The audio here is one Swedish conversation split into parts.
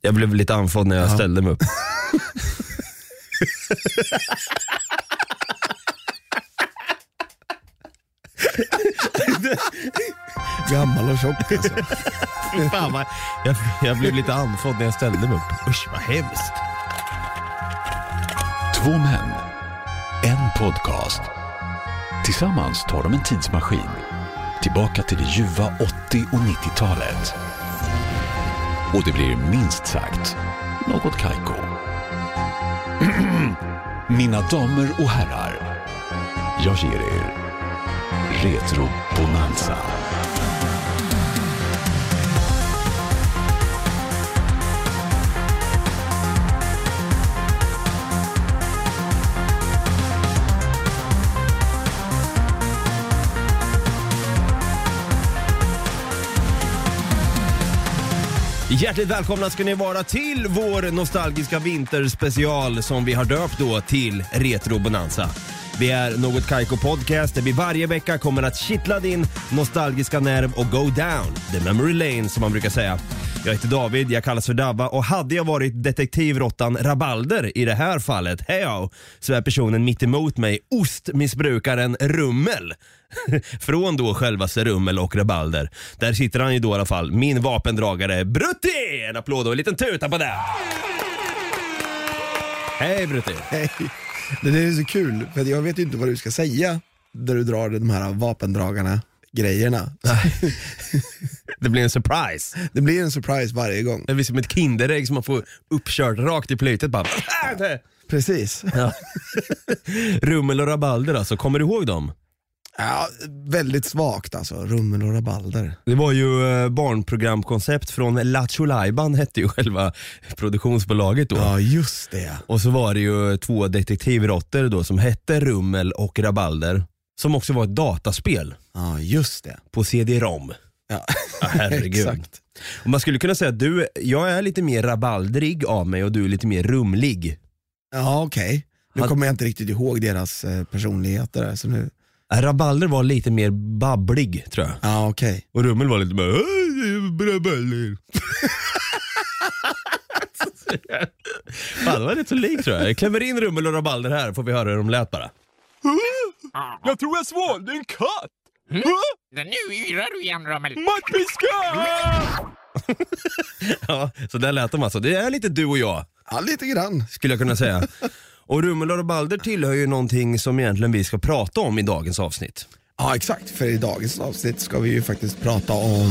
Jag blev lite andfådd när jag ställde mig upp. Gammal och tjock alltså. Fan vad, jag, jag blev lite andfådd när jag ställde mig upp. Usch vad hemskt. Två män, en podcast. Tillsammans tar de en tidsmaskin tillbaka till det ljuva 80 och 90-talet. Och det blir minst sagt något kajko. Mina damer och herrar, jag ger er Retro Bonanza. Hjärtligt välkomna ska ni vara till vår nostalgiska vinterspecial som vi har döpt då till Retro Bonanza. Vi är Något Kaiko Podcast där vi varje vecka kommer att kittla din nostalgiska nerv och go down the memory lane som man brukar säga. Jag heter David, jag kallas för Dabba och hade jag varit detektivrottan Rabalder i det här fallet, hejo, så är personen mitt emot mig ostmissbrukaren Rummel. Från då självaste Rummel och Rabalder. Där sitter han ju då i alla fall, min vapendragare Brutti! En applåd och en liten tuta på det! Hej Brutti! Hej. Det där är så kul, för att jag vet ju inte vad du ska säga där du drar de här vapendragarna grejerna. Det blir en surprise. Det blir en surprise varje gång. Det blir som ett kinderägg som man får uppkört rakt i plytet bara. Precis. Ja. Rummel och Rabalder alltså, kommer du ihåg dem? Ja, väldigt svagt alltså, rummen och rabalder. Det var ju eh, barnprogramkoncept från Lattjo Lajban hette ju själva produktionsbolaget då. Ja, just det. Och så var det ju två detektivrotter då som hette Rummel och Rabalder. Som också var ett dataspel Ja, just det. på CD-ROM. Ja, Ja, herregud. Exakt. Och man skulle kunna säga att du, jag är lite mer rabaldrig av mig och du är lite mer rumlig. Ja, okej. Nu Han- kommer jag inte riktigt ihåg deras eh, personligheter där, så nu... Äh, Rabalder var lite mer babblig tror jag. Ja, okej. Och Rummel var lite mer "Hej, rabalder. Fan, det var rätt så likt tror jag. Jag klämmer in Rummel och Rabalder här får vi höra hur de lät bara. Jag tror jag svalde en katt! Nu yrar du igen Rommel. Ja, så där lät de alltså. Det är lite du och jag. Ja, lite grann. skulle jag kunna säga. Och Rummel och Balder tillhör ju någonting som egentligen vi ska prata om i dagens avsnitt. Ja, exakt. För i dagens avsnitt ska vi ju faktiskt prata om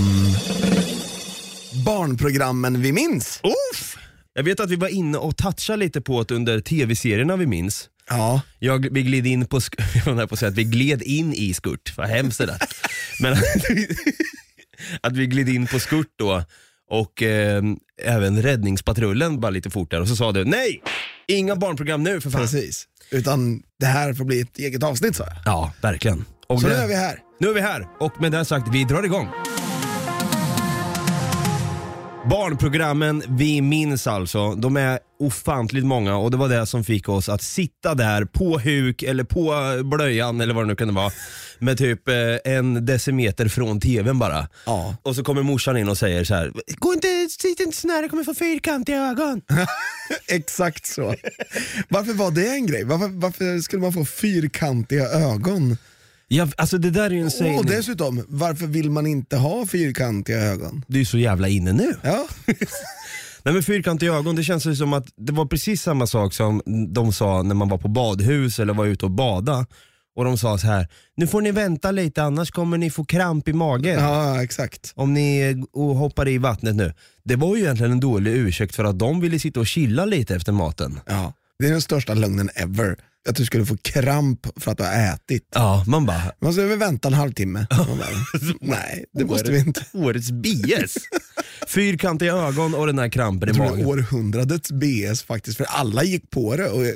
barnprogrammen vi minns. Uff! Jag vet att vi var inne och touchade lite på att under tv-serierna vi minns. Ja, Jag, vi gled in på, sk- jag var nära på att säga att vi gled in i skurt, vad hemskt det där. Men att vi, att vi gled in på skurt då och eh, även räddningspatrullen bara lite fort där och så sa du nej, inga barnprogram nu för fan. precis. Utan det här får bli ett eget avsnitt sa jag. Ja, verkligen. Och Så nu det- är vi här. Nu är vi här och med det sagt, vi drar igång. Barnprogrammen vi minns alltså, de är ofantligt många och det var det som fick oss att sitta där på huk eller på blöjan eller vad det nu kunde vara med typ eh, en decimeter från tvn bara. Ja. Och så kommer morsan in och säger så här: gå inte, sitt inte så nära, du kommer få fyrkantiga ögon. Exakt så. Varför var det en grej? Varför, varför skulle man få fyrkantiga ögon? Ja, alltså det där är ju en sägning, Och dessutom, varför vill man inte ha fyrkantiga ögon? du är ju så jävla inne nu. Ja, Nej men fyrkantiga ögon, det känns ju som att det var precis samma sak som de sa när man var på badhus eller var ute och bada. Och de sa så här, nu får ni vänta lite annars kommer ni få kramp i magen. ja exakt. Om ni eh, och hoppar i vattnet nu. Det var ju egentligen en dålig ursäkt för att de ville sitta och chilla lite efter maten. Ja. Det är den största lögnen ever. Att du skulle få kramp för att du har ätit. Ja, man bara, Man skulle väl vänta en halvtimme. Man bara, Nej, det måste vi inte. årets bias. fyrkantiga ögon och den här krampen i Jag tror det är magen. århundradets BS faktiskt, för alla gick på det. Och eh,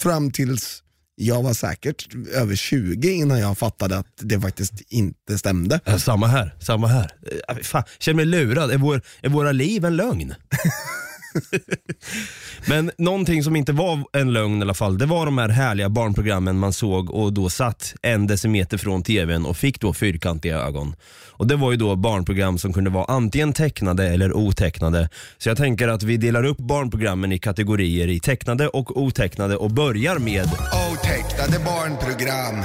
fram tills jag var säkert över 20 innan jag fattade att det faktiskt inte stämde. Ja, Eh, samma här, samma här. Eh, Fan, känner mig lurad. Är, vår, är våra liv en lögn? Men någonting som inte var en lögn i alla fall, det var de här härliga barnprogrammen man såg och då satt en decimeter från tvn och fick då fyrkantiga ögon. Och det var ju då barnprogram som kunde vara antingen tecknade eller otecknade. Så jag tänker att vi delar upp barnprogrammen i kategorier i tecknade och otecknade och börjar med Otecknade barnprogram.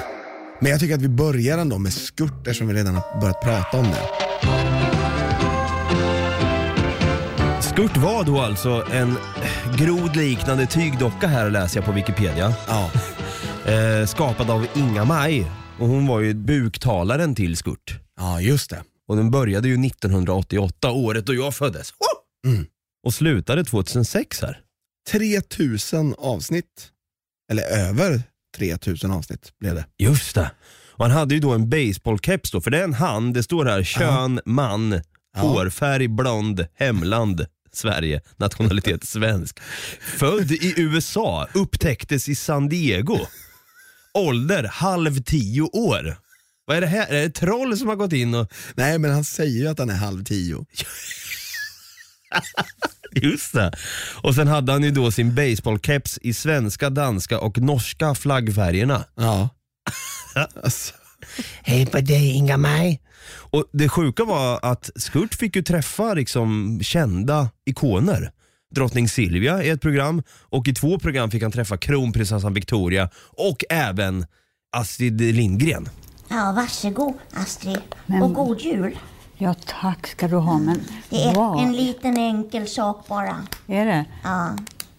Men jag tycker att vi börjar ändå med skurt eftersom vi redan har börjat prata om det. Skurt var då alltså en grodliknande tygdocka här läser jag på Wikipedia. Ja. Eh, skapad av Inga-Maj och hon var ju buktalaren till Skurt. ja, just det. Och den började ju 1988, året då jag föddes. Oh! Mm. Och slutade 2006 här. 3000 avsnitt. Eller över 3000 avsnitt blev det. Just det. Och han hade ju då en baseballkeps då, för det är en hand, det står här kön, man, hårfärg, blond, hemland. Sverige, nationalitet svensk. Född i USA, upptäcktes i San Diego. Ålder halv tio år. Vad är det här? Är det troll som har gått in och... Nej, men han säger ju att han är halv tio. Just det. Och sen hade han ju då sin baseballkeps i svenska, danska och norska flaggfärgerna. Ja. alltså, Hej på dig Inga Maj. Och det sjuka var att Skurt fick ju träffa liksom kända ikoner. Drottning Silvia i ett program och i två program fick han träffa kronprinsessan Victoria och även Astrid Lindgren. Ja, varsågod Astrid. Och god jul. Ja, tack ska du ha, men Mm. Det är vad en liten enkel sak bara. är det? Ja,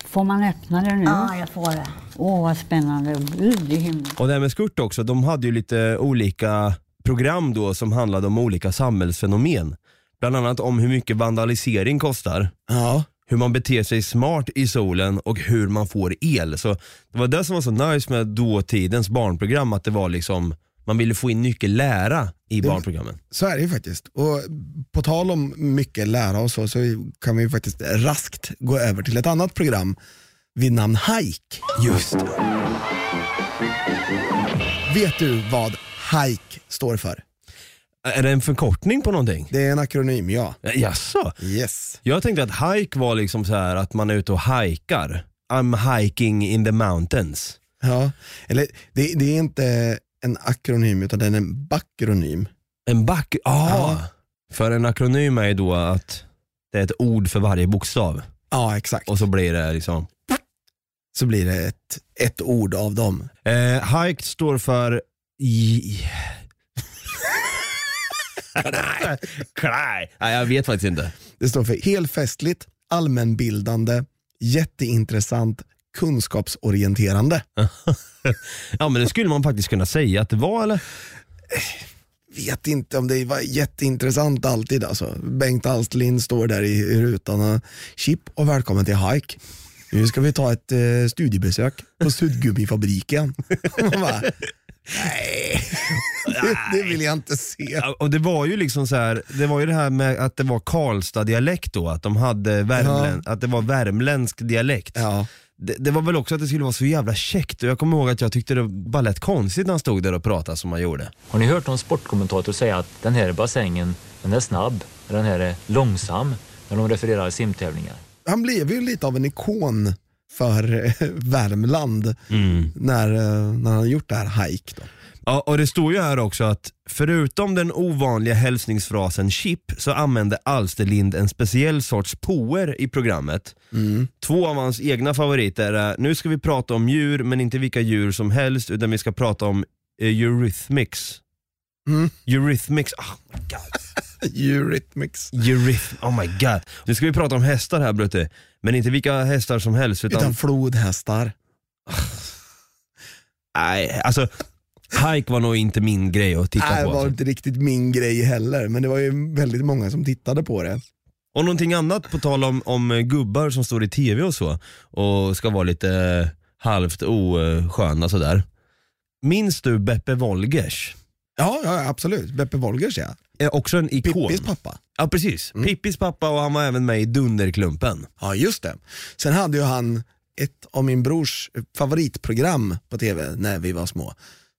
Får man öppna det nu? Åh, ja jag får det. vad spännande. Gud i himlen. Och det här med Skurt också, de hade ju lite olika program då som handlade om olika samhällsfenomen. Bland annat om hur mycket vandalisering kostar. ja. hur man beter sig smart i solen och hur man får el. Så det var det som var så nice med dåtidens barnprogram, att det var liksom, man ville få in mycket lära i barnprogrammen. Så är det ju faktiskt. Och på tal om mycket lära och så, så kan vi ju faktiskt raskt gå över till ett annat program vid namn Hike. Just Vet du vad Hike står för? Är det en förkortning på någonting? Det är en akronym, ja. Jaså? Yes. Jag tänkte att hike var liksom så här att man är ute och hajkar. I'm hiking in the mountains. Ja. Eller, det, det är inte en akronym utan den är en bakronym. En back... Ah. Ja. För en akronym är ju då att det är ett ord för varje bokstav Ja, exakt. och så blir det liksom så blir det ett, ett ord av dem. Eh, hike står för... i- Nej. Nej, jag vet faktiskt inte. Det står för helfestligt, allmänbildande, jätteintressant, kunskapsorienterande. Ja men det skulle man faktiskt kunna säga att det var eller? Vet inte om det var jätteintressant alltid alltså. Bengt Alsterlind står där i, i rutan och chip och välkommen till Hike. Nu ska vi ta ett eh, studiebesök på suddgummifabriken. Man bara, Nej, det, det vill jag inte se. Ja, Och det var ju liksom så här, det var ju det här med att det var Karlstad-dialekt då, att de hade värmlän, att det var värmländsk dialekt. Ja. Det, det var väl också att det skulle vara så jävla käckt och jag kommer ihåg att jag tyckte det bara lät konstigt när han stod där och pratade som han gjorde. Har ni hört någon sportkommentator säga att den här bassängen, den är snabb, den här är långsam när de refererar simtävlingar? han blev ju lite av en ikon för eh, Värmland när, eh, när han gjort det här Hike. Då. Ja, och det står ju här också att förutom den ovanliga hälsningsfrasen chip så använde Alsterlind en speciell sorts poer i programmet. Mm. Två av hans egna favoriter är nu ska vi prata om djur men inte vilka djur som helst utan vi ska prata om eh, Eurythmics. Mm. Eurythmics, oh my god. Eurythmics. Euryth, oh my god. Nu ska vi prata om hästar här Brutte, men inte vilka hästar som helst utan, Utan flodhästar. nej alltså Hike var nog inte min grej att titta Nej, på. det var alltså. inte riktigt min grej heller, men det var ju väldigt många som tittade på det. Och någonting annat på tal om, om gubbar som står i tv och så och ska vara lite eh, halvt osköna sådär. Minns du Beppe Wolgers? Ja, ja absolut. Beppe Wolgers ja. Är också en ikon. Pippis pappa. Ja precis, Pippis pappa och han var även med i Dunderklumpen. Ja, just det. Sen hade ju han ett av min brors favoritprogram på tv när vi var små,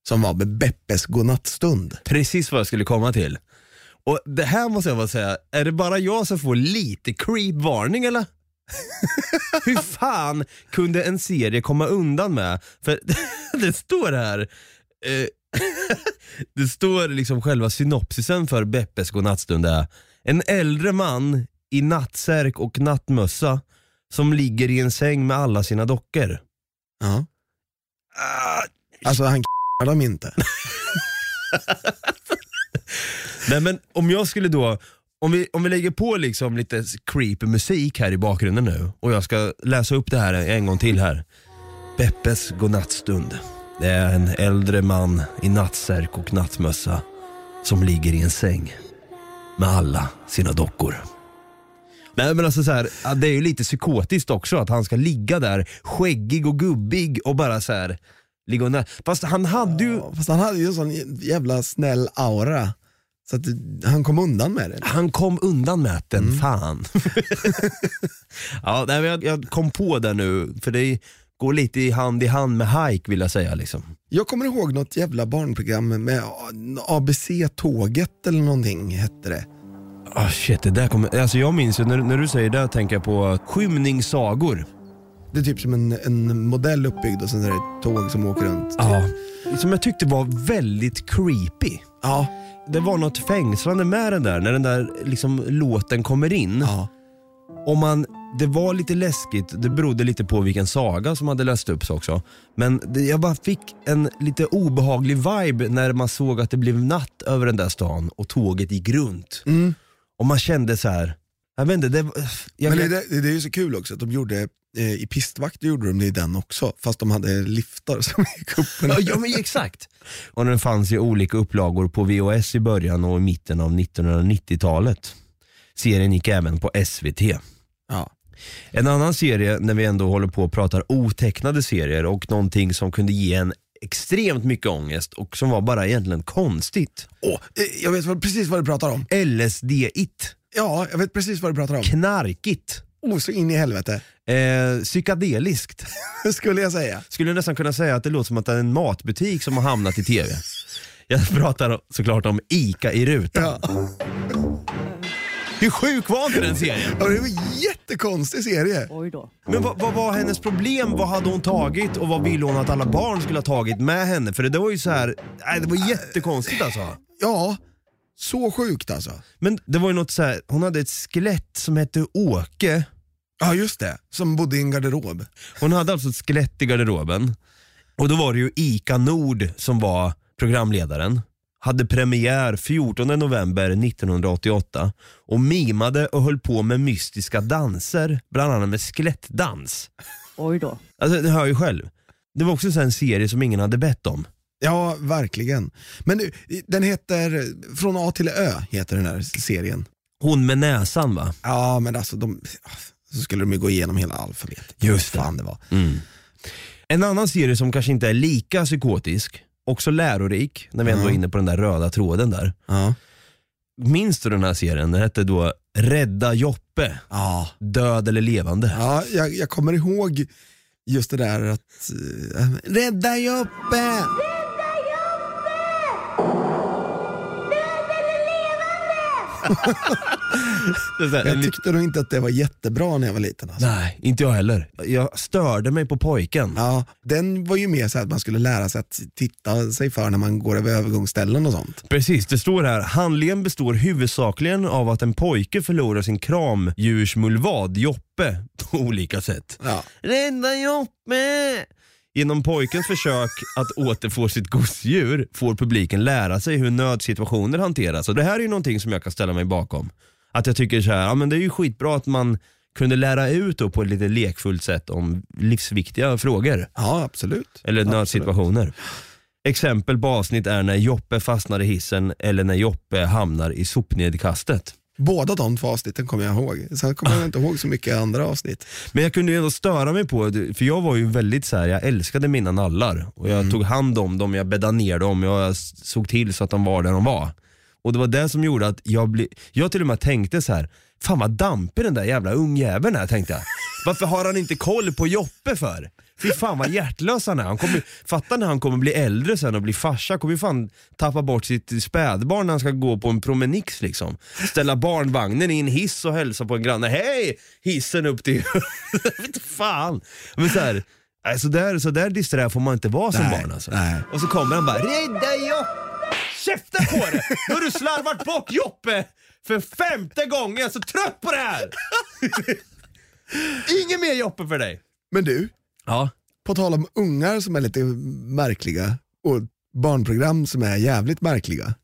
som var med Beppes godnattstund. Precis vad jag skulle komma till. Och det här måste jag bara säga, är det bara jag som får lite creep-varning eller? Hur fan kunde en serie komma undan med? För det står här, eh, det står liksom själva synopsisen för Beppes godnattstund är En äldre man i nattsärk och nattmössa som ligger i en säng med alla sina dockor. Ja. Ah. Alltså han k***ar dem inte. Nej men om jag skulle då, om vi, om vi lägger på liksom lite creepy musik här i bakgrunden nu och jag ska läsa upp det här en gång till här. Beppes godnattstund. Det är en äldre man i nattsärk och nattmössa som ligger i en säng med alla sina dockor. Nej men alltså så här, ja, det är ju lite psykotiskt också att han ska ligga där skäggig och gubbig och bara så här ligga och nä- Fast han hade ju, Fast han hade ju en sån jävla snäll aura. Så att han kom undan med det. Han kom undan med den, fan. Mm. ja, nej, men jag, jag kom på det nu, för det går lite i hand i hand med hike vill jag säga. Liksom. Jag kommer ihåg något jävla barnprogram med ABC-tåget eller någonting hette det. Ah shit, det där kommer, alltså jag minns ju, när, när du säger det tänker jag på skymningssagor. Det är typ som en, en modell uppbyggd och sen är det ett tåg som åker runt. Ja. Som jag tyckte var väldigt creepy. Ja, Det var något fängslande med den där, när den där liksom, låten kommer in. ja. Om man, det var lite läskigt, det berodde lite på vilken saga som hade läst upp sig också. Men det, jag bara fick en lite obehaglig vibe när man såg att det blev natt över den där stan och tåget gick runt. Och man kände så här. jag vet inte, det, var- jag, Men vet- det, det, det är ju så kul också att de gjorde, eh, i pistvakt gjorde de det i den också, fast de hade liftar som gick upp. och Ja, ner. ja men exakt. Och den fanns i olika upplagor på VHS i början och i mitten av 1990-talet. Serien gick även på SVT. Ja. En annan serie, när vi ändå håller på och pratar otecknade serier och någonting som kunde ge en extremt mycket ångest och som var bara egentligen konstigt. Åh, eh, jag vet vad, precis vad du pratar om. LSD-igt, Ja, jag vet precis vad du pratar om. knarkigt, Oh, så in i helvete, eh, psykadeliskt. skulle jag säga. Skulle nästan kunna säga att det låter som att det är en matbutik som har hamnat i TV. Jag pratar såklart om ICA i rutan. Hur sjuk var inte den serien? Ja, det var en jättekonstig serie. Oj då. Men vad, vad var hennes problem? Vad hade hon tagit och vad ville hon att alla barn skulle ha tagit med henne? För det, där var ju så här, nej, det var jättekonstigt alltså. Ja, så sjukt alltså. Men det var ju något så här, hon hade ett skelett som hette Åke. Ja, just det. Som bodde i en garderob. Hon hade alltså ett skelett i garderoben. Och då var det ju ICA Nord som var programledaren. Hade premiär 14 november 1988 och mimade och höll på med mystiska danser, bland annat med skelettdans. Oj då. Alltså det hör ju själv. Det var också så här en serie som ingen hade bett om. Ja, verkligen. Men nu, den heter, Från A till Ö heter den här serien. Hon med näsan va? Ja, men alltså de, så skulle de ju gå igenom hela alfabetet. Just det. Fan det var. En annan serie som kanske inte är lika psykotisk, också lärorik, när vi ändå är inne på den där röda tråden där. Ja. Minns du den här serien? Den hette då Rädda Joppe, Ja, död eller levande. ja jag, jag kommer ihåg just det där att, eh, rädda Joppe! Det är så här, en Jag lit- tyckte nog inte att det var jättebra när jag var liten. Alltså. Nej, inte jag heller. Jag störde mig på pojken. Ja, den var ju mer så här att man skulle lära sig att titta sig för när man går över övergångsställen och sånt. Precis, det står här. Handlingen består huvudsakligen av att en pojke förlorar sin kramdjursmulvad, Joppe, på olika sätt. Ja. Rädda Joppe! Genom pojkens försök att återfå sitt gosedjur får publiken lära sig hur nödsituationer hanteras. Och det här är ju någonting som jag kan ställa mig bakom. Att jag tycker så här, ja men det är ju skitbra att man kunde lära ut då på ett lite lekfullt sätt om livsviktiga frågor. Ja, absolut. Eller nödsituationer. Exempel på avsnitt är när Joppe fastnar i hissen eller när Joppe hamnar i sopnedkastet. Båda de två avsnitten kommer jag ihåg. Sen kommer jag inte ihåg så mycket andra avsnitt. Men jag kunde ju ändå störa mig på, för jag var ju väldigt så här, jag älskade mina nallar. Och jag tog hand om dem, jag bäddade ner dem, jag såg till så att de var där de var. Och det var det som gjorde att jag, bli, jag till och med tänkte så här, fan vad dampig den där jävla ungjäveln är tänkte jag. Varför har han inte koll på Joppe för? Fy fan vad hjärtlös han är. Han kommer, fatta när han kommer bli äldre sen och bli farsa, Han kommer ju fan tappa bort sitt spädbarn när han ska gå på en promenix liksom. Ställa barnvagnen i en hiss och hälsa på en granne. Hej! Hissen upp till... Vet fan! Men så här, nej, så där, så där disträ får man inte vara som Nej, barn alltså. nej. Och så kommer han bara, rädda Joppe! Käften på dig! Nu har du slarvat bort Joppe! För femte gången, jag är så trött på det här! Inget mer Joppe för dig! Men du, Ja. på tal om ungar som är lite märkliga och barnprogram som är jävligt märkliga.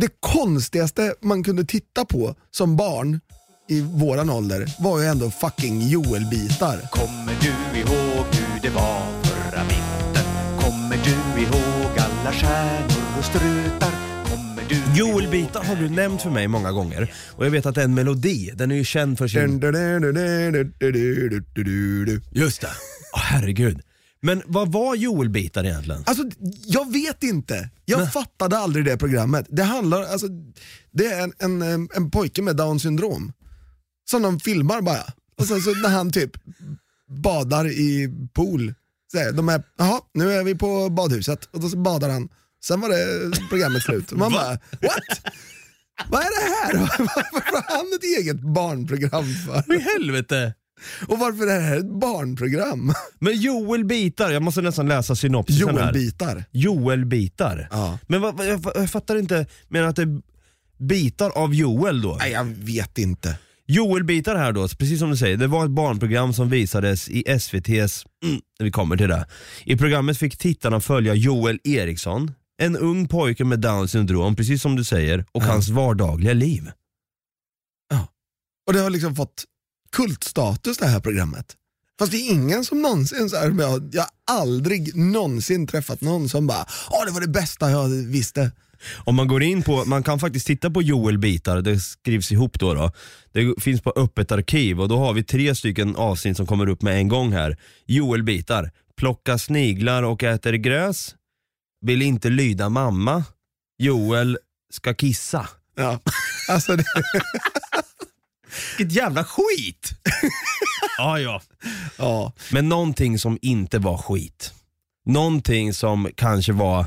Det konstigaste man kunde titta på som barn i våran ålder var ju ändå fucking Joel-bitar. Kommer du ihåg hur det var förra vintern? Kommer du ihåg alla stjärnor och strutar? Kommer du Joel ihåg- Bitar har du nämnt för mig många gånger och jag vet att det är en melodi, den är ju känd för sin... Just det. Åh, herregud. Men vad var Joel Bitar egentligen? Alltså, jag vet inte. Jag fattade aldrig det programmet. Det handlar, alltså, det är en, en, em, en pojke med down syndrom som de filmar bara. Och sen så när han typ badar i pool, så här, de är, jaha, nu är vi på badhuset och då så badar han. Sen var det programmet slut. Och Man bara, what? Vad är det här? Varför har han ett eget barnprogram för? I helvete! Och varför är det här ett barnprogram? Men Joel Bitar, jag måste nästan läsa synopsisen här. Joel-bitar. Joel Bitar? Ja. Men vad, vad, jag, jag fattar inte, menar att det är bitar av Joel då? Nej, jag vet inte. Joel-bitar här då, precis som du säger, det var ett barnprogram som visades i SVT's, mm, vi kommer till det. I programmet fick tittarna följa Joel Eriksson, en ung pojke med down syndrom, precis som du säger, och hans vardagliga liv. Och det har liksom fått kultstatus det här programmet. Fast det är ingen som någonsin, så här, men jag, jag har aldrig någonsin träffat någon som bara “Åh, det var det bästa jag visste”. Om man går in på, man kan faktiskt titta på Joel-bitar, det skrivs ihop då då. Det finns på öppet arkiv och då har vi tre stycken avsnitt som kommer upp med en gång här. Joel-bitar, plocka sniglar och äter gräs, vill inte lyda mamma, Joel ska kissa. Ja. Alltså, det, Vilket jävla skit! ja, ja. ja. Men någonting som inte var skit. Någonting som kanske var,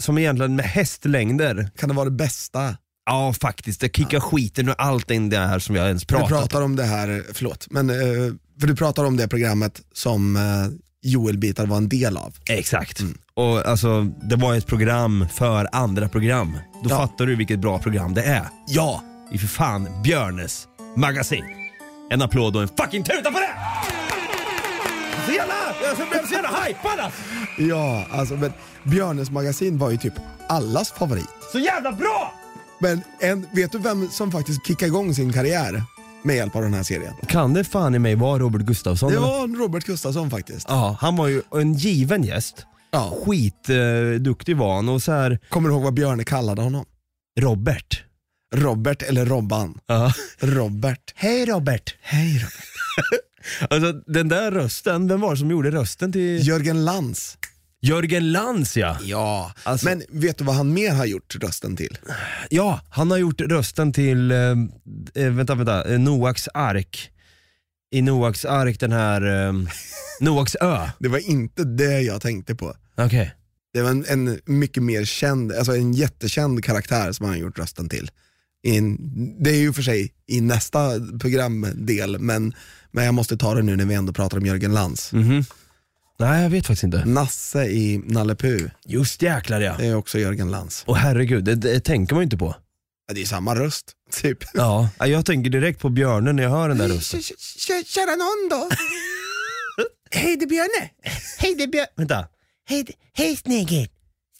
som egentligen med hästlängder, Kan det vara det bästa? ja faktiskt, det kickar skiten ur allt in det här som jag ens Du pratat om. pratar om det här, förlåt, men, eh, för du pratar om det programmet som eh, Joel-bitar var en del av. Exakt. Och alltså, det var ett program för andra program. Då Ja. fattar du vilket bra program det är. Ja! I för fan Björnes magasin. En applåd och en fucking tuta på det! Så jävla, jag blev så jävla hajpad alltså. Ja, alltså men Björnes magasin var ju typ allas favorit. Så jävla bra! Men en, vet du vem som faktiskt kickade igång sin karriär med hjälp av den här serien? Kan det fan i mig vara Robert Gustafsson? Det eller? var en Robert Gustafsson faktiskt. Ja, han var ju en given gäst. Ja. Skitduktig eh, duktig var han och så här Kommer du ihåg vad Björne kallade honom? Robert. Robert eller Robban? Ja. Robert. Hej Robert! Hej Robert. Alltså den där rösten, vem var det som gjorde rösten till... Jörgen Lantz. Jörgen Lantz ja! Ja. Alltså- Men vet du vad han mer har gjort rösten till? Ja, han har gjort rösten till, eh, eh, vänta, vänta, eh, Noaks ark. I Noaks ark, den här, eh, Noaks ö. Det var inte det jag tänkte på. Okej. Det var en, en mycket mer känd, alltså en jättekänd karaktär som han har gjort rösten till. I en, det är ju för sig i nästa programdel, men, men jag måste ta det nu när vi ändå pratar om Jörgen Lantz. Mhm. Nej, jag vet faktiskt inte. Eh. Nasse i Nalle Puh, Just jäklar ja. det är också Jörgen Lantz. Och herregud, det, det tänker man ju inte på. Ja, Det är samma röst, typ. Ja. Jag tänker direkt på björnen när jag hör den där rösten. Kära någon då. Hej det är Björne! Hej det är Björne! Vänta. Hej, hej Snigel!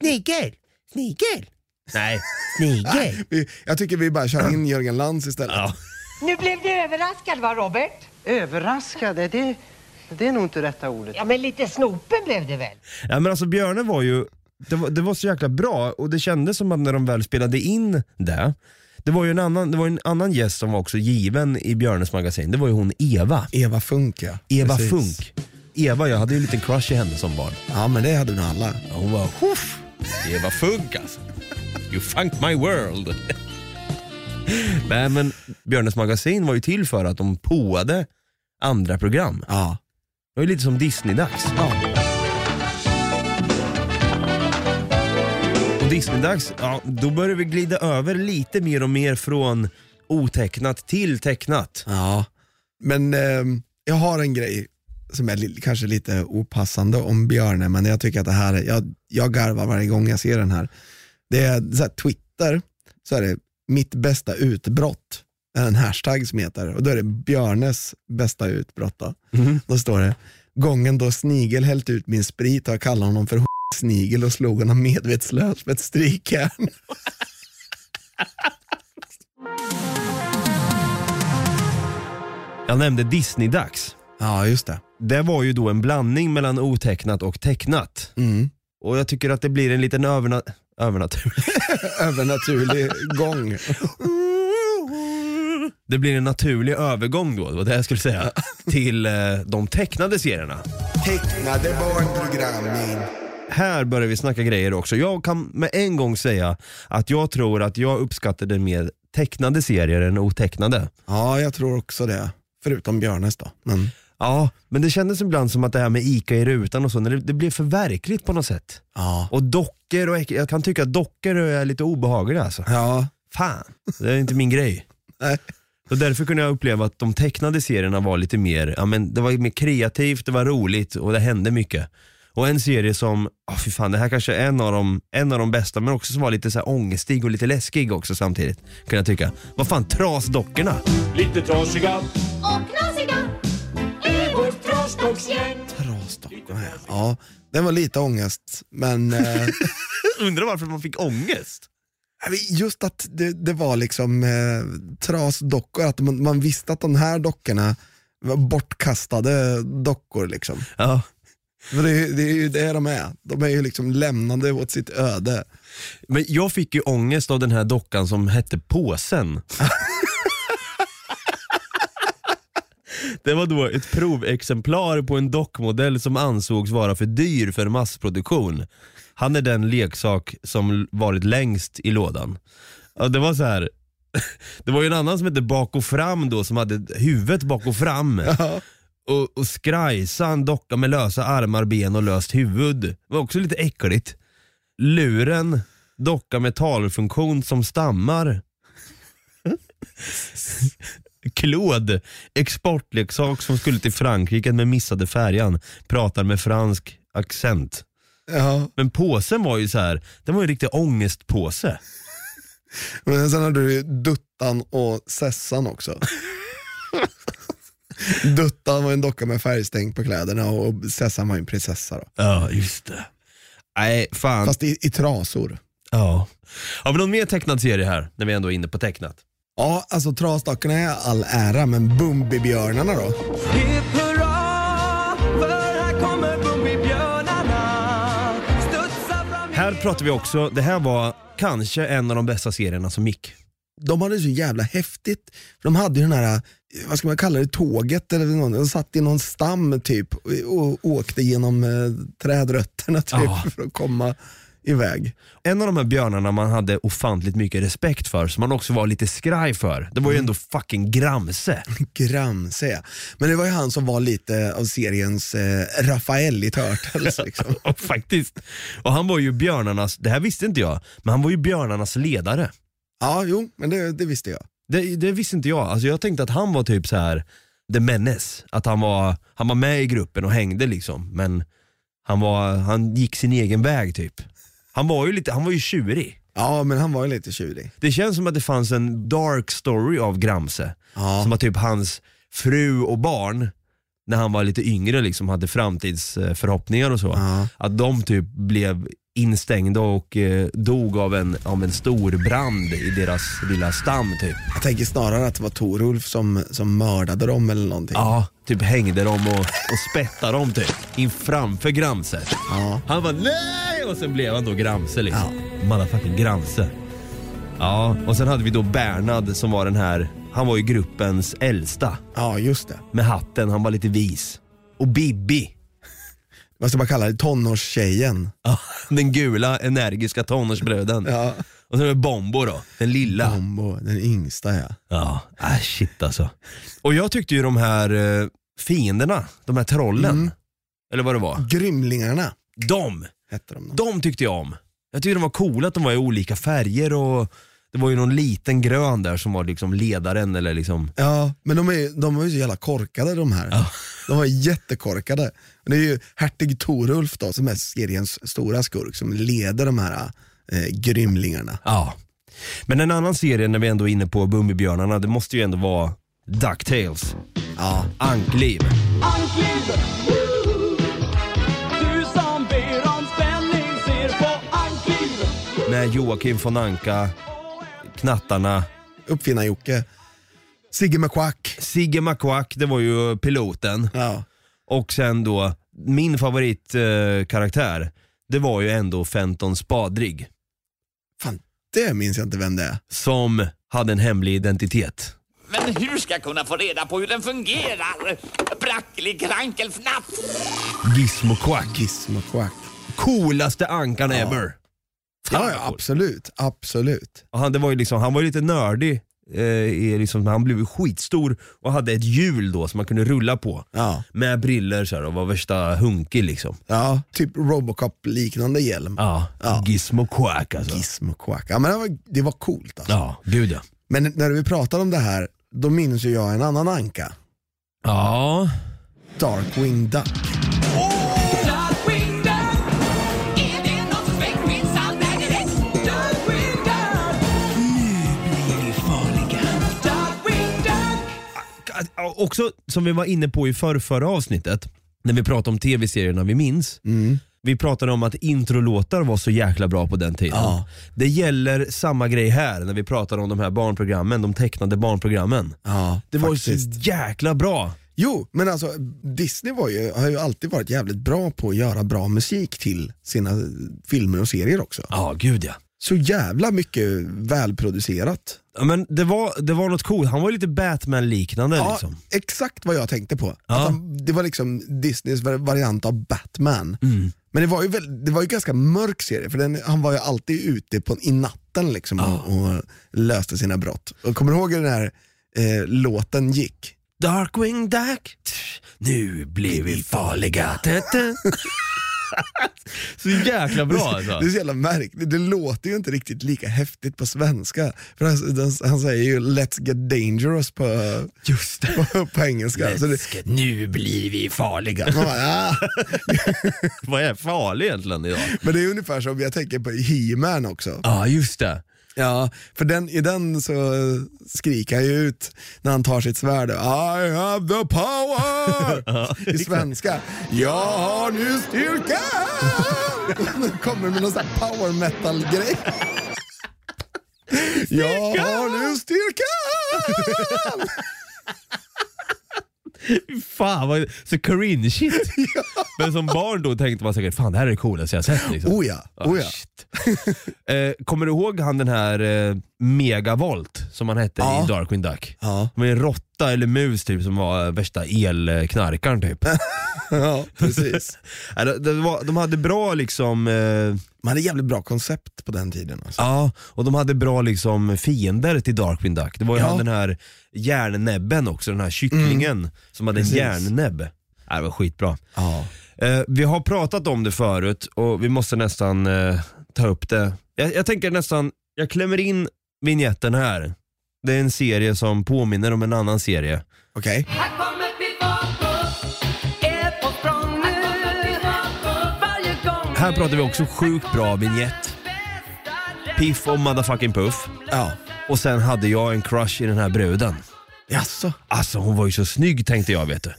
Snigel! Snigel! Nej. Snigel! Vi- Jag tycker vi bara kör in Jörgen Lantz istället. Ja. Nu blev du överraskad va Robert? Överraskade, det, det är nog inte rätta ordet. Ja men lite snopen blev det väl? Ja men alltså Björne var ju, det var, det var så jäkla bra och det kändes som att när de väl spelade in det, det var ju en annan, det var en annan gäst som var också given i Björnes magasin, det var ju hon Eva. Eva Funk ja. Eva Precis. Funk. Eva, jag hade ju en liten crush i henne som barn. Ja men det hade nog alla. Ja, Hon var Huff. Eva Funk alltså. You funk my world. Nej men Björnes magasin var ju till för att de påade andra program. Ja. Det var ju lite som Disney-dags. Och Disney-dags, ja, då börjar vi glida över lite mer och mer från otecknat till tecknat. Ja, men ehm, jag har en grej som är li- kanske lite opassande om björnen, men jag tycker att det här, är- jag, jag garvar varje gång jag ser den här. Det är så här, Twitter, så är det mitt bästa utbrott, är en hashtag som heter, och då är det björnes bästa utbrott. Då, då står det, gången då Snigel hällt ut min sprit har jag kallat honom för Snigel och slog honom medvetslös med ett strykjärn. Jag nämnde Disney-dags. Ja, just det. Det var ju då en blandning mellan otecknat och tecknat. Mm. Och jag tycker att det blir en liten övernat... Övernaturlig. Övernaturlig gång. Det blir en naturlig övergång då, det var det jag skulle säga, till eh, de tecknade serierna. Tecknade barnprogrammen. Här börjar vi snacka grejer också. Jag kan med en gång säga att jag tror att jag uppskattade mer tecknade serier än otecknade. Ja, jag tror också det. Förutom Björnes då. Men, Ja, men det kändes ibland som att det här med ICA i rutan och så, när det, det blev för verkligt på något sätt. ja. Och dockor och äck- jag kan tycka att dockor är lite obehagliga alltså. Ja, Fan, det är inte min grej. nej. Så därför kunde jag uppleva att de tecknade serierna var lite mer, ja men det var mer kreativt, det var roligt och det hände mycket. Och en serie som, oh, fy fan det här kanske är en av, de, en av de bästa men också som var lite så här ångestig och lite läskig också samtidigt. Kan jag tycka. Vad fan, Trasdockorna. Lite trasiga, Och knasiga är vårt trasdocksgäng. Trasdockorna ja. ja. Den var lite ångest, men eh, Undrar varför man fick ångest? just att det, det var liksom eh, trasdockor, att man, man visste att de här dockorna var bortkastade dockor. Liksom. Ja. För det, är ju- det är ju det de är. De är ju liksom lämnade åt sitt öde. Men jag fick ju ångest av den här dockan som hette Påsen. Det var då ett provexemplar på en dockmodell som ansågs vara för dyr för massproduktion. Han är den leksak som l- varit längst i lådan. Ja, det var så här. Det var ju en annan som hette Bak och fram då som hade huvudet bak och fram. Och, och skrajsa en docka med lösa armar, ben och löst huvud. Det var också lite äckligt. Luren, docka med talfunktion som stammar. Claude, exportleksak som skulle till Frankrike men missade färjan. Pratar med fransk accent. Ja. Men påsen var ju så här, den var ju en riktig ångestpåse. Men sen hade du ju Duttan och Sessan också. Duttan var en docka med färgstänk på kläderna och Sessan var ju en prinsessa. Då. Ja, just det. Nej, fan. Fast i, i trasor. Ja. Har vi någon mer tecknad serie här, när vi ändå är inne på tecknat? Ja, alltså trasdockorna är all ära, men Bumbibjörnarna då? Här pratar vi också, det här var kanske en av de bästa serierna som gick. De hade det så jävla häftigt. För de hade ju den här, vad ska man kalla det, tåget eller någon, de satt i någon stam typ och, och åkte genom eh, trädrötterna typ Ja. för att komma iväg. En av de här björnarna man hade ofantligt mycket respekt för, som man också var lite skraj för, det var ju ändå fucking Gramse. Gramse ja. Men det var ju han som var lite av seriens eh, Rafael i Turtles. Liksom. Och faktiskt. Och han var ju björnarnas, det här visste inte jag, men han var ju björnarnas ledare. Ja, jo, men det, det visste jag. Det, det visste inte jag. Alltså jag tänkte att han var typ så här the menace. Att han var, han var med i gruppen och hängde liksom. Men han, var, han gick sin egen väg typ. Han var ju, lite, han var ju tjurig. Ja, men han var ju lite tjurig. Det känns som att det fanns en dark story av Gramse. Ja. Som var typ hans fru och barn, när han var lite yngre liksom, hade framtidsförhoppningar och så. Ja. Att de typ blev instängda och eh, dog av en, av en stor brand i deras lilla stam typ. Jag tänker snarare att det var Torulf som, som mördade dem eller någonting. Ja, typ hängde dem och, och spettade dem typ in framför Gramse. Ja. Han var nej och sen blev han då Gramse liksom. Motherfucking Gramse. Ja, och sen hade vi då Bernhard som var den här, han var ju gruppens äldsta Ja, just det. med hatten, han var lite vis. Och Bibi, Vad ska man kalla det? Tonårstjejen. ja, den gula energiska tonårsbröden. Ja. Och sen har vi Bombo då, den lilla. äh, Bombo, den yngsta ja. Ja, ah, shit alltså. Och jag tyckte ju de här eh, fienderna, de här trollen. Mm. Eller vad det var. Grymlingarna De, hette de. Då. de tyckte jag om. Jag tyckte de var coola att de var i olika färger och det var ju någon liten grön där som var liksom ledaren eller liksom Ja, men de, är, de var ju så jävla korkade de här. De var jättekorkade. Och Det är ju hertig Torulf då, som är seriens stora skurk, som leder de här eh, grymlingarna. Ja. Men en annan serie när vi ändå är inne på Bumbibjörnarna, det måste ju ändå vara DuckTales. Ja. Ankliv. Med Joakim von Anka, Knattarna, Uppfinnar-Jocke, Sigge McQuack. Sigge McQuack, det var ju piloten. Ja. Och sen då, min favoritkaraktär, eh, karaktär, det var ju ändå Fenton Spadrig. Fan, det minns jag inte vem det är. Som hade en hemlig identitet. Men hur ska jag kunna få reda på hur den fungerar? Bracklig krankelfnatt! Gizmo Quack. Kiss McQuack. Coolaste ankan ever. Ja, ja, absolut. Absolut. Och han, det var ju liksom, han var ju lite nördig, eh, i liksom, men han blev ju skitstor och hade ett hjul då som man kunde rulla på. Ja. Med briller så här, och var värsta hunky liksom. Ja, typ Robocop-liknande hjälm. Ja, Ja. Gizmo Quack alltså. Kiss McQuack. Ja, men det, var, det var coolt alltså. Ja, gud ja. Men när vi pratade om det här, då minns ju jag en annan anka. Ja, Darkwing Duck. också som vi var inne på i förr, förra avsnittet, när vi pratade om tv-serierna vi minns. Vi pratade om att introlåtar var så jäkla bra på den tiden. Ja. Det gäller samma grej här när vi pratar om de här barnprogrammen, de tecknade barnprogrammen. Ja, Det var ju så faktiskt. jäkla bra. Jo, men alltså Disney var ju, har ju alltid varit jävligt bra på att göra bra musik till sina filmer och serier också. Ja, gud ja. Så jävla mycket välproducerat. Ja, Men det var, det var något coolt, han var ju lite Batman-liknande Ja, liksom. exakt vad jag tänkte på. Ja. Att han, det var liksom Disneys var- variant av Batman. Men det var ju, väl, det var ju ganska mörk serie, för den, han var ju alltid ute på, i natten liksom, och, och löste sina brott. Och kommer du ihåg hur den här eh, låten gick? Darkwing Duck, tsch, nu blir vi farliga. Tä, tä. så jäkla bra alltså. Det är så jävla märkligt, det låter ju inte riktigt lika häftigt på svenska. För han, den- han säger ju “Let's get dangerous” på, Just det. på, på engelska. Så det, Läskigt. Nu blir vi farliga. man bara, ah. Vad är farlig egentligen idag? Men det är ungefär som jag tänker på He-Man också. Ja, just det. Ja, för den, i den så eh, skriker han ju ut när han tar sitt svärd. I have the power! I svenska. Jag har nu styrka! Nu kommer med någon sån här power metal-grej. Jag har nu styrka! Fan vad, så cringe shit. Men som barn då tänkte man säkert, fan det här är det coolaste jag har sett. Liksom. Oh ja, oh ja. shit. eh, kommer du ihåg han den här eh, Megavolt som han hette Ja. i Darkwing Duck? Ja, Han var ju en råtta eller mus typ som var eh, värsta elknarkaren typ. ja precis. Ja, det, det var, de hade bra liksom, eh, Man hade jävligt bra koncept på den tiden. Alltså. ja, och de hade bra liksom fiender till Darkwing Duck. Det var ju Ja. han den här järnnäbben också, den här kycklingen som hade Mm. Precis. en järnnäbb. Ja, det var skitbra. Ja. Eh, vi har pratat om det förut och vi måste nästan eh, ta upp det. Jag, jag tänker nästan, jag klämmer in vignetten här. Det är en serie som påminner om en annan serie. Okej. Här pratar vi också sjukt bra vignett. Piff och motherfucking Puff. Ja. Och sen hade jag en crush i den här bruden. Jaså? Alltså hon var ju så snygg tänkte jag vet du.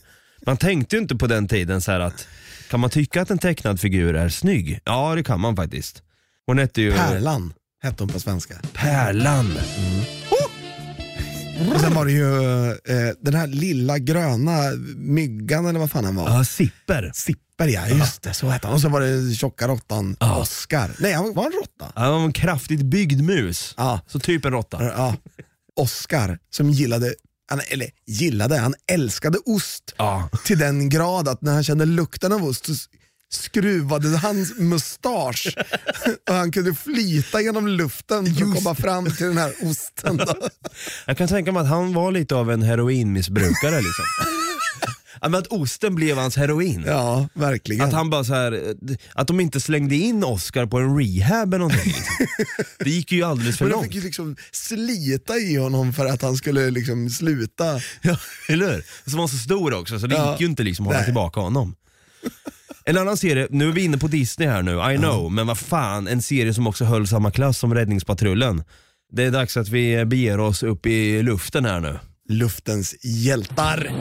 Man tänkte ju inte på den tiden så här att, kan man tycka att en tecknad figur är snygg? Ja det kan man faktiskt. Hon hette ju Pärlan hette hon på svenska. Pärlan. Och sen var det ju eh, den här lilla gröna myggan eller vad fan han var. Ja, Sipper. Sipper ja, just det så hette han. Och så var det tjocka råttan Ja. Oscar. Nej han var en råtta. Han var en kraftigt byggd mus. Ja. Så typ en råtta. ja. Oscar som gillade, han, eller gillade, han älskade ost. Ja. Till den grad att när han kände lukten av ost så s- skruvade hans mustasch och han kunde flyta genom luften för att komma fram till den här osten. Då. Jag kan tänka mig att han var lite av en heroinmissbrukare liksom. men att osten blev hans heroin. Ja, verkligen. Att han bara så här, eh, att de inte slängde in Oscar på en rehab eller någonting. liksom. Det gick ju alldeles för Men de långt. fick ju liksom slita i honom för att han skulle liksom sluta. Ja, eller hur? Som var så stor också, så det Ja. gick ju inte liksom att hålla Nej. tillbaka honom. En annan serie, nu är vi inne på Disney här nu, I know, men vad fan, en serie som också höll samma klass som Räddningspatrullen. Det är dags att vi beger oss upp i luften här nu. Luftens hjältar.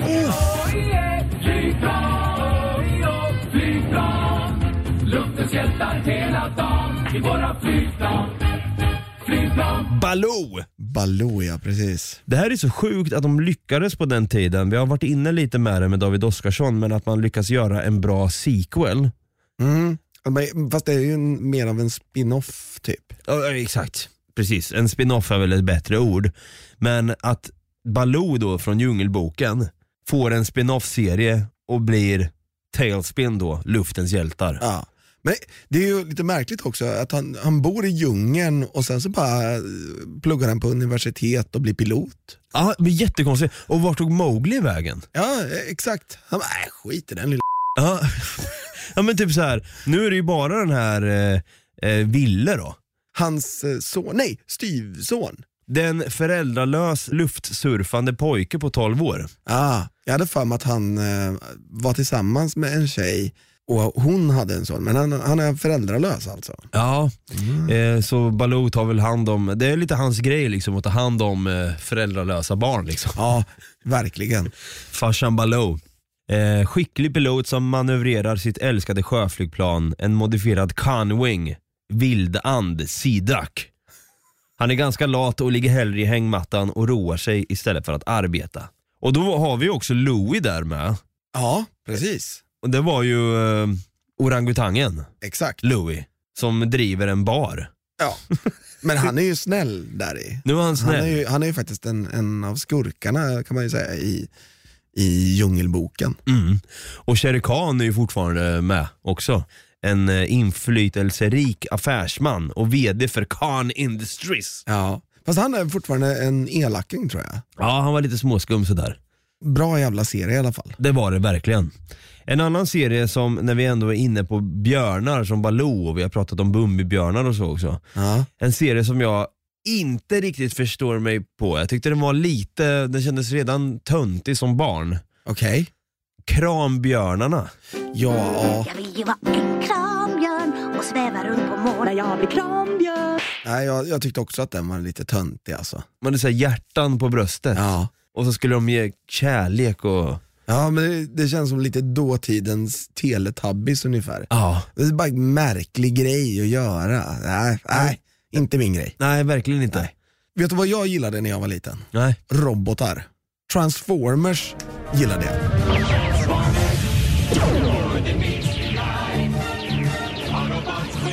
Baloo! Baloo ja, precis. Det här är så sjukt att de lyckades på den tiden. Vi har varit inne lite med det med David Oskarsson, men att man lyckas göra en bra sequel. Mm. Men- Fast det är ju en, mer av en spin-off typ. Ja, exakt. Precis, en spin-off är väl ett bättre ord. Men att Baloo då från Djungelboken får en spin-off-serie och blir Tailspin då, Luftens hjältar. Ja. Men det är ju lite märkligt också att han, han bor i djungeln och sen så bara eh, pluggar han på universitet och blir pilot. Ja, men jättekonstigt. Och vart tog Mowgli vägen? Ja, eh, exakt. Han bara, äh, skit i den lilla Ja. ja men typ så här. nu är det ju bara den här eh, eh, Ville då. Hans eh, son, nej, styvson. Den föräldralös luftsurfande pojke på 12 år. Ah, jag hade för mig att han eh, var tillsammans med en tjej och hon hade en son, men han, han är föräldralös alltså. Ja, eh, så Baloo tar väl hand om, det är lite hans grej liksom att ta hand om eh, föräldralösa barn liksom. Ja, verkligen. Farsan Baloo. Eh, skicklig pilot som manövrerar sitt älskade sjöflygplan, en modifierad Conwing, vildand, sidak. Han är ganska lat och ligger hellre i hängmattan och roar sig istället för att arbeta. Och då har vi också Louie där med. Ja, precis. Och det var ju eh, orangutangen, Exakt. Louie, som driver en bar. Ja. Men han är ju snäll där i. Nu är han Han snäll. är ju, han är ju faktiskt en, en av skurkarna kan man ju säga i, i Djungelboken. Mm. Och Shere Khan är ju fortfarande med också. En eh, inflytelserik affärsman och VD för Khan Industries. Ja. Fast han är fortfarande en elaking tror jag. Ja, han var lite småskum sådär. Bra jävla serie i alla fall. Det var det verkligen. En annan serie som, när vi ändå är inne på björnar som Baloo och vi har pratat om Bumbibjörnar och så också. Ja. En serie som jag inte riktigt förstår mig på. Jag tyckte den var lite, den kändes redan töntig som barn. Okej. Krambjörnarna. Ja. Jag vill vara en krambjörn och sväva runt på molnen. Jag blir krambjörn. Nej, jag, jag tyckte också att den var lite töntig alltså. Man hade så här hjärtan på bröstet. Ja. Och så skulle de ge kärlek och... Ja, men det, det känns som lite dåtidens teletubbies ungefär. Ja. Det är bara en märklig grej att göra. Nej, nej inte min grej. Nej, verkligen inte. Nej. Vet du vad jag gillade när jag var liten? Robotar. Transformers gillade jag.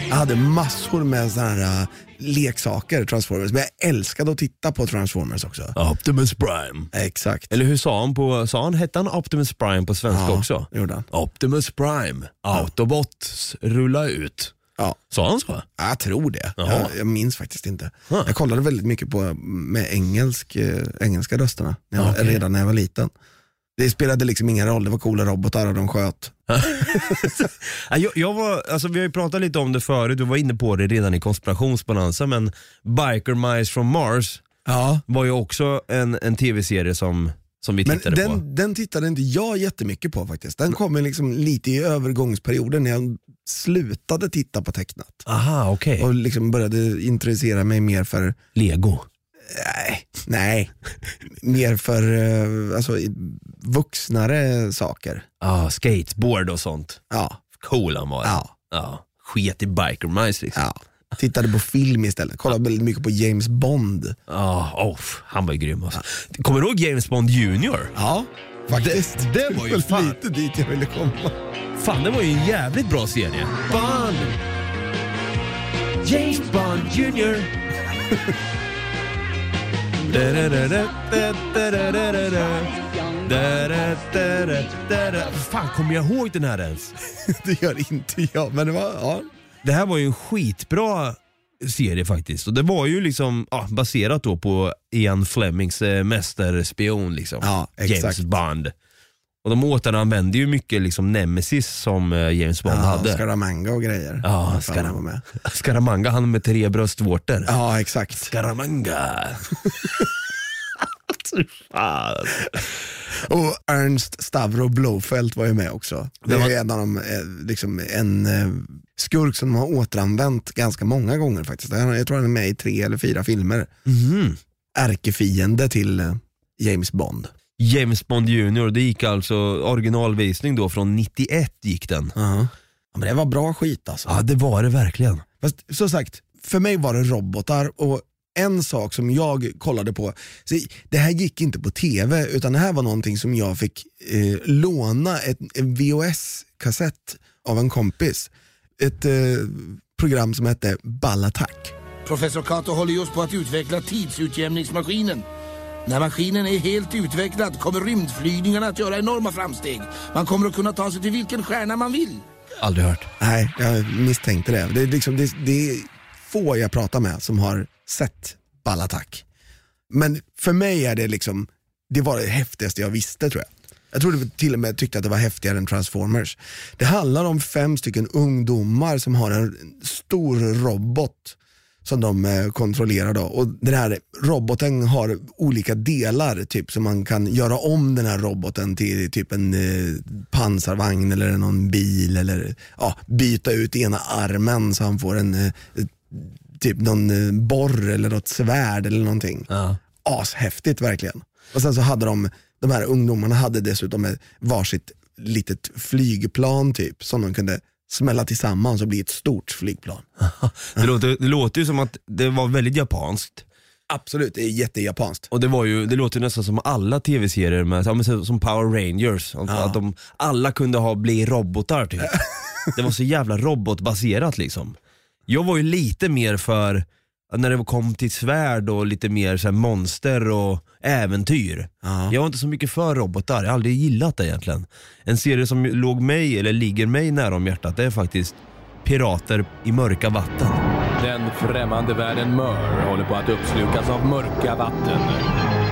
Jag hade massor med sådana här äh, leksaker, Transformers, men jag älskade att titta på Transformers också. Optimus Prime. Exakt. Eller hur sa han på, sa han, hette han Optimus Prime på svenska Ja, också? det gjorde han. Optimus Prime, Autobots, rulla ut. Ja. Sa han så? Ja, Jag tror det. Jaha. Jag, jag minns faktiskt inte. Huh. Jag kollade väldigt mycket på med engelsk, eh, engelska rösterna när jag, Ah, Okej. redan när jag var liten. Det spelade liksom ingen roll, det var coola robotar och de sköt. Ja, Jag, jag var, alltså, vi har ju pratat lite om det förut, du var inne på det redan i konspirationsbalansen, men Biker Mice from Mars Ja. var ju också en, en tv-serie som, som vi Men tittade på. den, den tittade inte jag jättemycket på faktiskt. Den kom ju liksom lite i övergångsperioden när jag slutade titta på tecknat. Aha, Ah, okej. Och liksom började intressera mig mer för, Lego. nej, nej, mer för eh, alltså, i- vuxnare saker. Ah, skateboard och sånt. Ja, Cool han var. ja, Ja, Sket i Biker Mice liksom. ja. Tittade på film istället, kollade väldigt mycket på James Bond. Ja, oh, han var ju grym alltså. Kommer du ihåg James Bond Junior? Ja, faktiskt. Det- det var ju väl fan- lite dit jag ville komma. Fan, det var ju en jävligt bra serie. Bond! James Bond Junior. Fan, kommer jag ihåg den här ens? Det gör inte jag, men det var, ja. Det här var ju en skitbra serie faktiskt. Och det var ju liksom ja, baserat då på Ian Flemings eh, mästerspion liksom. Ja, exakt. James Bond. Och de återanvände ju mycket liksom Nemesis som eh, James Bond Ja, hade. Scaramanga och grejer. Ja, Ah, Fan, han var Scaram med. Scaramanga, han med tre bröstvårtor. Ja, exakt. Scaramanga. Fy fan. Och Ernst Stavro Blofeld var ju med också. Det Det var- är en av de, eh, liksom en eh, skurk som de har återanvänt ganska många gånger faktiskt. Han- Jag tror han är med i tre eller fyra filmer. Mhm. Ärkefiende till eh, James Bond. James Bond Junior, det gick alltså originalvisning då från 91 gick den. Ja, men det var bra skit alltså. Ja det var det verkligen. Fast som sagt, för mig var det robotar och en sak som jag kollade på, så det här gick inte på tv utan det här var någonting som jag fick eh, låna ett, en VHS-kassett av en kompis. Ett eh, program som hette Ballattack. Professor Cato håller just på att utveckla tidsutjämningsmaskinen. När maskinen är helt utvecklad kommer rymdflygningarna att göra enorma framsteg. Man kommer att kunna ta sig till vilken stjärna man vill. Aldrig hört. Nej, jag misstänkte det. Det är, liksom, det, det är få jag pratar med som har sett Ballattack. Men för mig är det liksom, det var det häftigaste jag visste tror jag. Jag trodde till och med tyckte att det var häftigare än Transformers. Det handlar om fem stycken ungdomar som har en stor robot som de eh, kontrollerar då. Och den här roboten har olika delar, typ så man kan göra om den här roboten till typ en eh, pansarvagn eller någon bil eller ja, byta ut ena armen så han får en eh, typ någon eh, borr eller något svärd eller någonting. Ashäftigt verkligen. Och sen så hade de, de här ungdomarna hade dessutom ett varsitt litet flygplan typ som de kunde smälla tillsammans och bli ett stort flygplan. Det låter, det låter ju som att det var väldigt japanskt. Absolut, det är jättejapanskt. Och det, var ju, det låter ju nästan som alla tv-serier med, ja, men så- som Power Rangers. Att, att de alla kunde ha, bli robotar typ. det var så jävla robotbaserat liksom. Jag var ju lite mer för, när det kom till svärd och lite mer så här, monster och äventyr. Jag var inte så mycket för robotar, jag har aldrig gillat det egentligen. En serie som låg mig, eller ligger mig nära om hjärtat, det är faktiskt Pirater i mörka vatten. Den främmande världen Mör håller på att uppslukas av mörka vatten.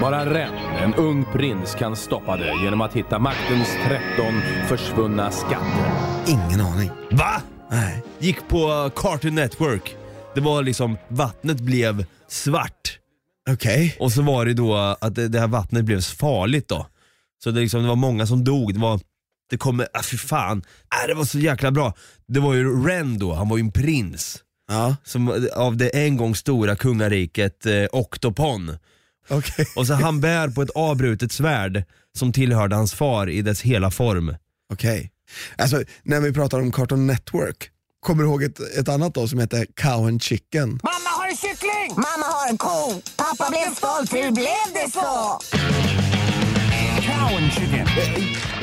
Bara Ren, en ung prins, kan stoppa det genom att hitta maktens 13 försvunna skatter. Ingen aning. Va? Nej. Gick på Cartoon Network. Det var liksom, vattnet blev svart. Okej. Och så var det då att det det här vattnet blev farligt då. Så det, liksom, det var många som dog. Det var, det kommer, ah, fy fan. Ah, det var så jäkla bra. Det var ju Ren då, han var ju en prins. Ja. Som, av det en gång stora kungariket eh, Octopon. Okej. Och så han bär på ett avbrutet svärd som tillhörde hans far i dess hela form. Okej. Alltså, när vi pratar om Cartoon Network, kommer du ihåg ett, ett annat då som hette Cow and Chicken? Mamma har en kyckling! Mamma har en ko. Pappa blev stolt, hur blev det så?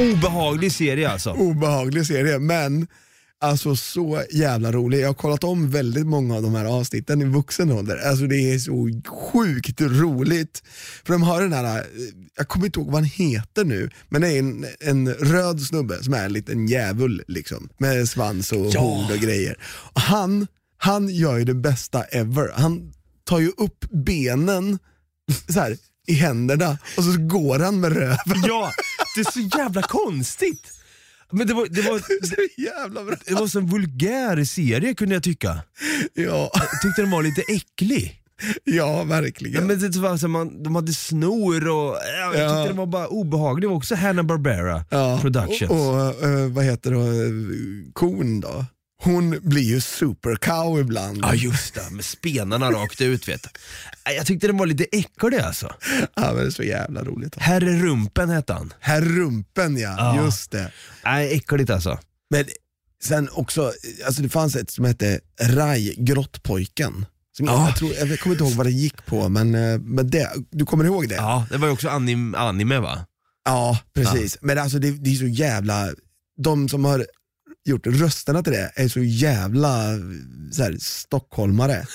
Obehaglig serie alltså. Obehaglig serie, men alltså så jävla rolig. Jag har kollat om väldigt många av de här avsnitten i vuxen ålder. Alltså det är så sjukt roligt. För de har den här, eh, jag kommer inte ihåg vad han heter nu, men det är en, en röd snubbe som är en liten djävul liksom. Med svans och Ja. horn och grejer. Och han, han gör ju det bästa ever. Han tar ju upp benen så här, i händerna och så går han med röven. Ja, det är så jävla konstigt. Men det var, det var, så jävla bra. Det var så en vulgär serie kunde jag tycka. Ja. Jag tyckte den var lite äcklig. Ja, verkligen. Ja, men det var så man, de hade snor och jag tyckte Ja. den var bara obehaglig. Det var också Hanna-Barbera Ja, Productions. Och, och eh, vad heter det, eh, kon då? Hon blir ju supercow ibland. Ja just det, med spenarna rakt ut vet du. Nej, Jag tyckte den var lite äcklig alltså. Ja, men det är så jävla roligt. Herr Rumpen hette han. Herr Rumpen ja, Ja. just det. Nej, äckligt alltså. Men sen också, alltså det fanns ett som hette Raj, grottpojken. Som jag, Ja. jag, tror, jag kommer inte ihåg vad det gick på, men, eh, men det, du kommer ihåg det? Ja, det var ju också anim, anime va? Ja, precis. Men alltså det, det är så jävla, de som har gjort rösterna till det är så jävla eh, så här, stockholmare.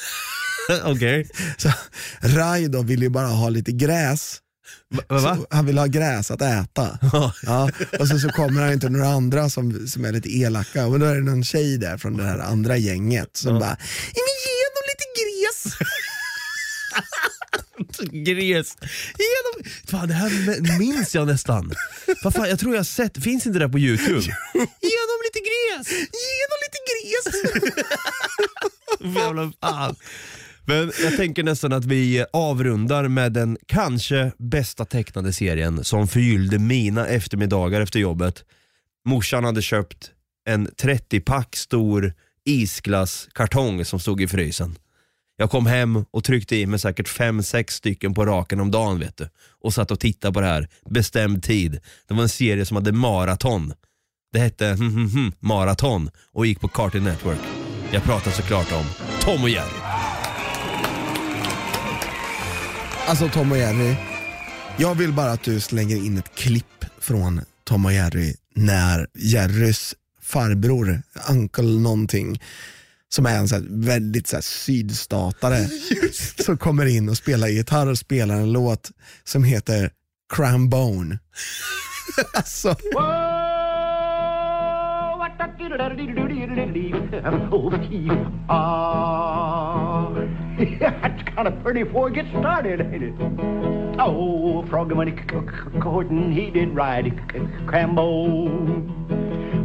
Eh, Okej. Så, Rai då ville ju bara ha lite gräs. Va, va? Så han ville ha gräs att äta. Ja, och sen så kommer han inte några andra som, som är lite elaka. Och då är det någon tjej där från det här andra gänget som bara, "Nej, men ge honom lite gräs. gres. Genom... Fan, det här minns jag nästan. Vad fan, jag tror jag har sett, finns inte det där på Youtube? Genom lite gräs! Genom lite gräs! Jävla fan. Men jag tänker nästan att vi avrundar med den kanske bästa tecknade serien som förgyllde mina eftermiddagar efter jobbet. Morsan hade köpt en 30-pack stor isglasskartong som stod i frysen. Jag kom hem och tryckte i mig säkert fem sex stycken på raken om dagen vet du. Och satt och tittade på det här, bestämd tid. Det var en serie som hade maraton. Det hette hmm, maraton och gick på Cartoon Network. Jag pratar såklart om Tom och Jerry. Alltså Tom och Jerry, jag vill bara att du slänger in ett klipp från Tom och Jerry när Jerrys farbror, Uncle någonting, som är en så här väldigt så här sydstatare, som kommer in och spelar gitarr och spelar en låt som heter Crambone. alltså. That's kind of pretty before it gets started, ain't it? Oh, Froggy when he c- c- courtin', he did ride c- c- Crambo.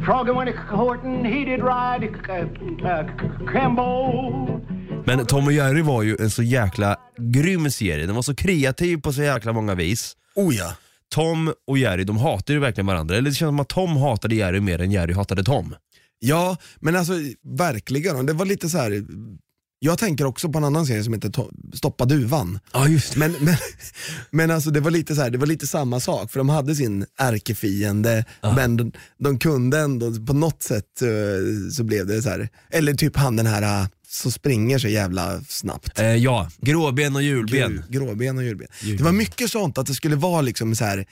Froggy when he courtin', he did ride c- c- uh, c- Crambo. Men Tom och Jerry var ju en så jäkla grym serie. Den var så kreativ på så jäkla många vis. Oh ja. Tom och Jerry, de hatade ju verkligen varandra. Eller det känns som att Tom hatade Jerry mer än Jerry hatade Tom. Ja, men alltså verkligen. Och Det var lite så här. Jag tänker också på en annan serie som heter To- Stoppa duvan. Ja, just Men, men, men alltså det var, lite så här, det var lite samma sak, för de hade sin ärkefiende, men de, de kunde ändå, på något sätt eh, så blev det så här. eller typ han den här eh, som springer så jävla snabbt. Eh, ja, gråben och julben. Grå, gråben och julben. Det var mycket sånt, att det skulle vara liksom så här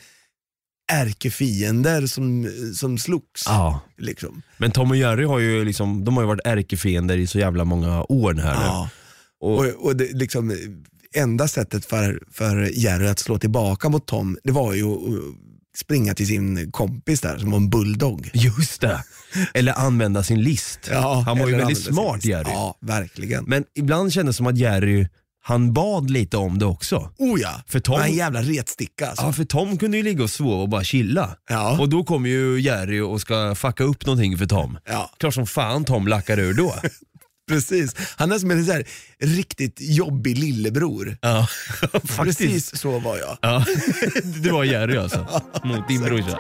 ärkefiender som, som slogs. Ja. Liksom. Men Tom och Jerry har ju liksom, de har ju varit ärkefiender i så jävla många år nu här Ja. nu. Och, Och, och det, liksom, eh, enda sättet för, för Jerry att slå tillbaka mot Tom, det var ju att eh, springa till sin kompis där som var en bulldog. just det. Eller använda sin list. Ja, han var ju eller väldigt använda sin smart list. Jerry. Ja, verkligen. Men ibland kändes det som att Jerry, han bad lite om det också. Oh ja, För Tom- Men en jävla retsticka alltså. Ja, för Tom kunde ju ligga och sova och bara chilla. Och då kommer ju Jerry och ska fucka upp någonting för Tom. Ja. Klart som fan Tom lackar ur då. Precis, han är som en så här, riktigt jobbig lillebror. ja, faktiskt. Precis så var jag. Ja. Det var Jerry alltså, mot din brorsa.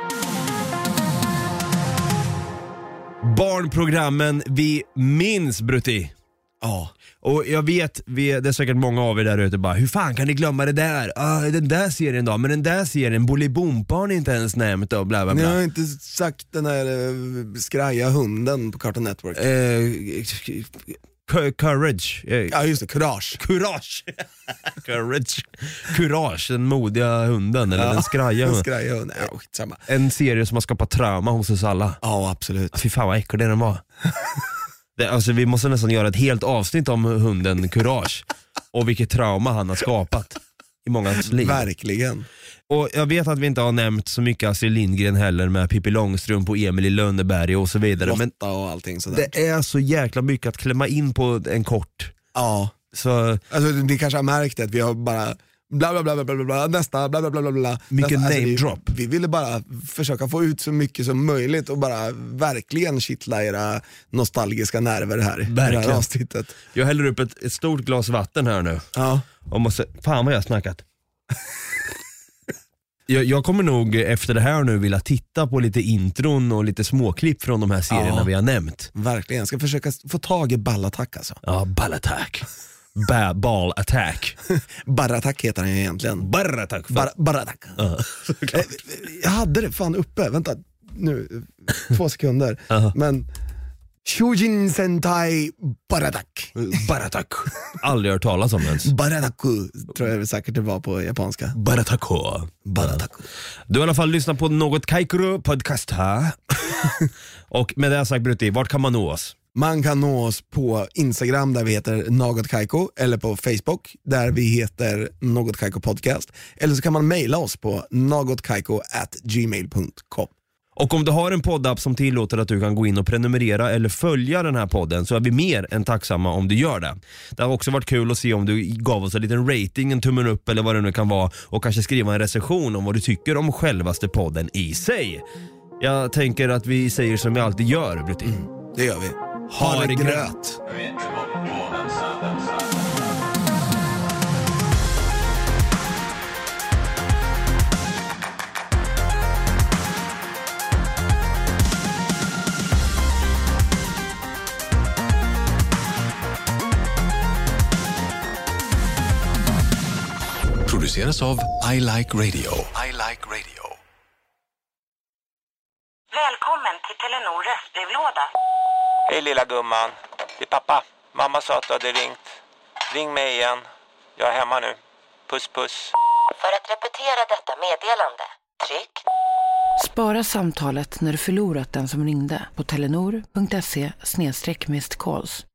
Barnprogrammen vi minns Brutti. Ja. Och jag vet, vi, det är säkert många av er där ute bara, hur fan kan ni glömma det där? Ah, den där serien då, men den där serien, Bolibompa har ni inte ens nämnt och bla bla Ni bla. har inte sagt den här eh, skraja hunden på Cartoon Network. Eh, cou- courage. Eh, Ja just det, Courage. Courage. courage. Courage, den modiga hunden, eller den skraja Eh, Den hunden. skraja hunden. Ja, skitsamma. En serie som har skapat trauma hos oss alla. Ja absolut. Fy fan vad äcklig den var. Det, alltså, vi måste nästan göra ett helt avsnitt om hunden Courage och vilket trauma han har skapat i mångas liv. Verkligen. Och jag vet att vi inte har nämnt så mycket Astrid Lindgren heller med Pippi Långstrump och Emil i Lönneberga och så vidare. Men Lotta och allting sådär. det är så jäkla mycket att klämma in på en kort. Ja. Så Alltså ni kanske har märkt att vi har bara bla bla bla bla bla, bla nästa bla bla bla bla bla. Mycket nästa, alltså, name vi- drop. Vi ville bara försöka få ut så mycket som möjligt och bara verkligen kittla era nostalgiska nerver här. i Det Verkligen. här avsnittet. jag häller upp ett, ett stort glas vatten här nu. Ja. Och måste, fan vad jag har snackat. jag, jag kommer nog efter det här nu vilja titta på lite intron och lite småklipp från de här serierna Ja. vi har nämnt. Verkligen, jag ska försöka s- få tag i Ballattack alltså. Ja, ball attack. Ba- ball attack. Barrattack heter han ju egentligen. Barr attack. Bar- Barrattack. Ja, Eh, Jag hade det fan uppe, vänta nu, eh, två sekunder. Men Shujin Sentai Barrattack. Baratak. Aldrig hört talas om ens. Barataku tror jag säkert det var på japanska. Baratako. Barataku. Du har i alla fall lyssnat på något Kaikuru podcast här. och med det sagt Brutti, vart kan man nå oss? Man kan nå oss på Instagram där vi heter Något Kaiko eller på Facebook där vi heter Något Kaiko Podcast. Eller så kan man mejla oss på nagotkaiko@gmail.com. Och om du har en poddapp som tillåter att du kan gå in och prenumerera eller följa den här podden så är vi mer än tacksamma om du gör det. Det har också varit kul att se om du gav oss en liten rating, en tummen upp eller vad det nu kan vara och kanske skriva en recension om vad du tycker om självaste podden i sig. Jag tänker att vi säger som vi alltid gör, Brutti. det gör vi. Ha det gröt. Produceras av I Like Radio. I like radio. Välkommen till Telenor röstbrevlåda. Hej lilla gumman. Det är pappa. Mamma sa att du hade ringt. Ring mig igen. Jag är hemma nu. Puss puss. För att repetera detta meddelande, tryck Spara samtalet när du förlorat den som ringde på telenor.se snedstreck missed calls.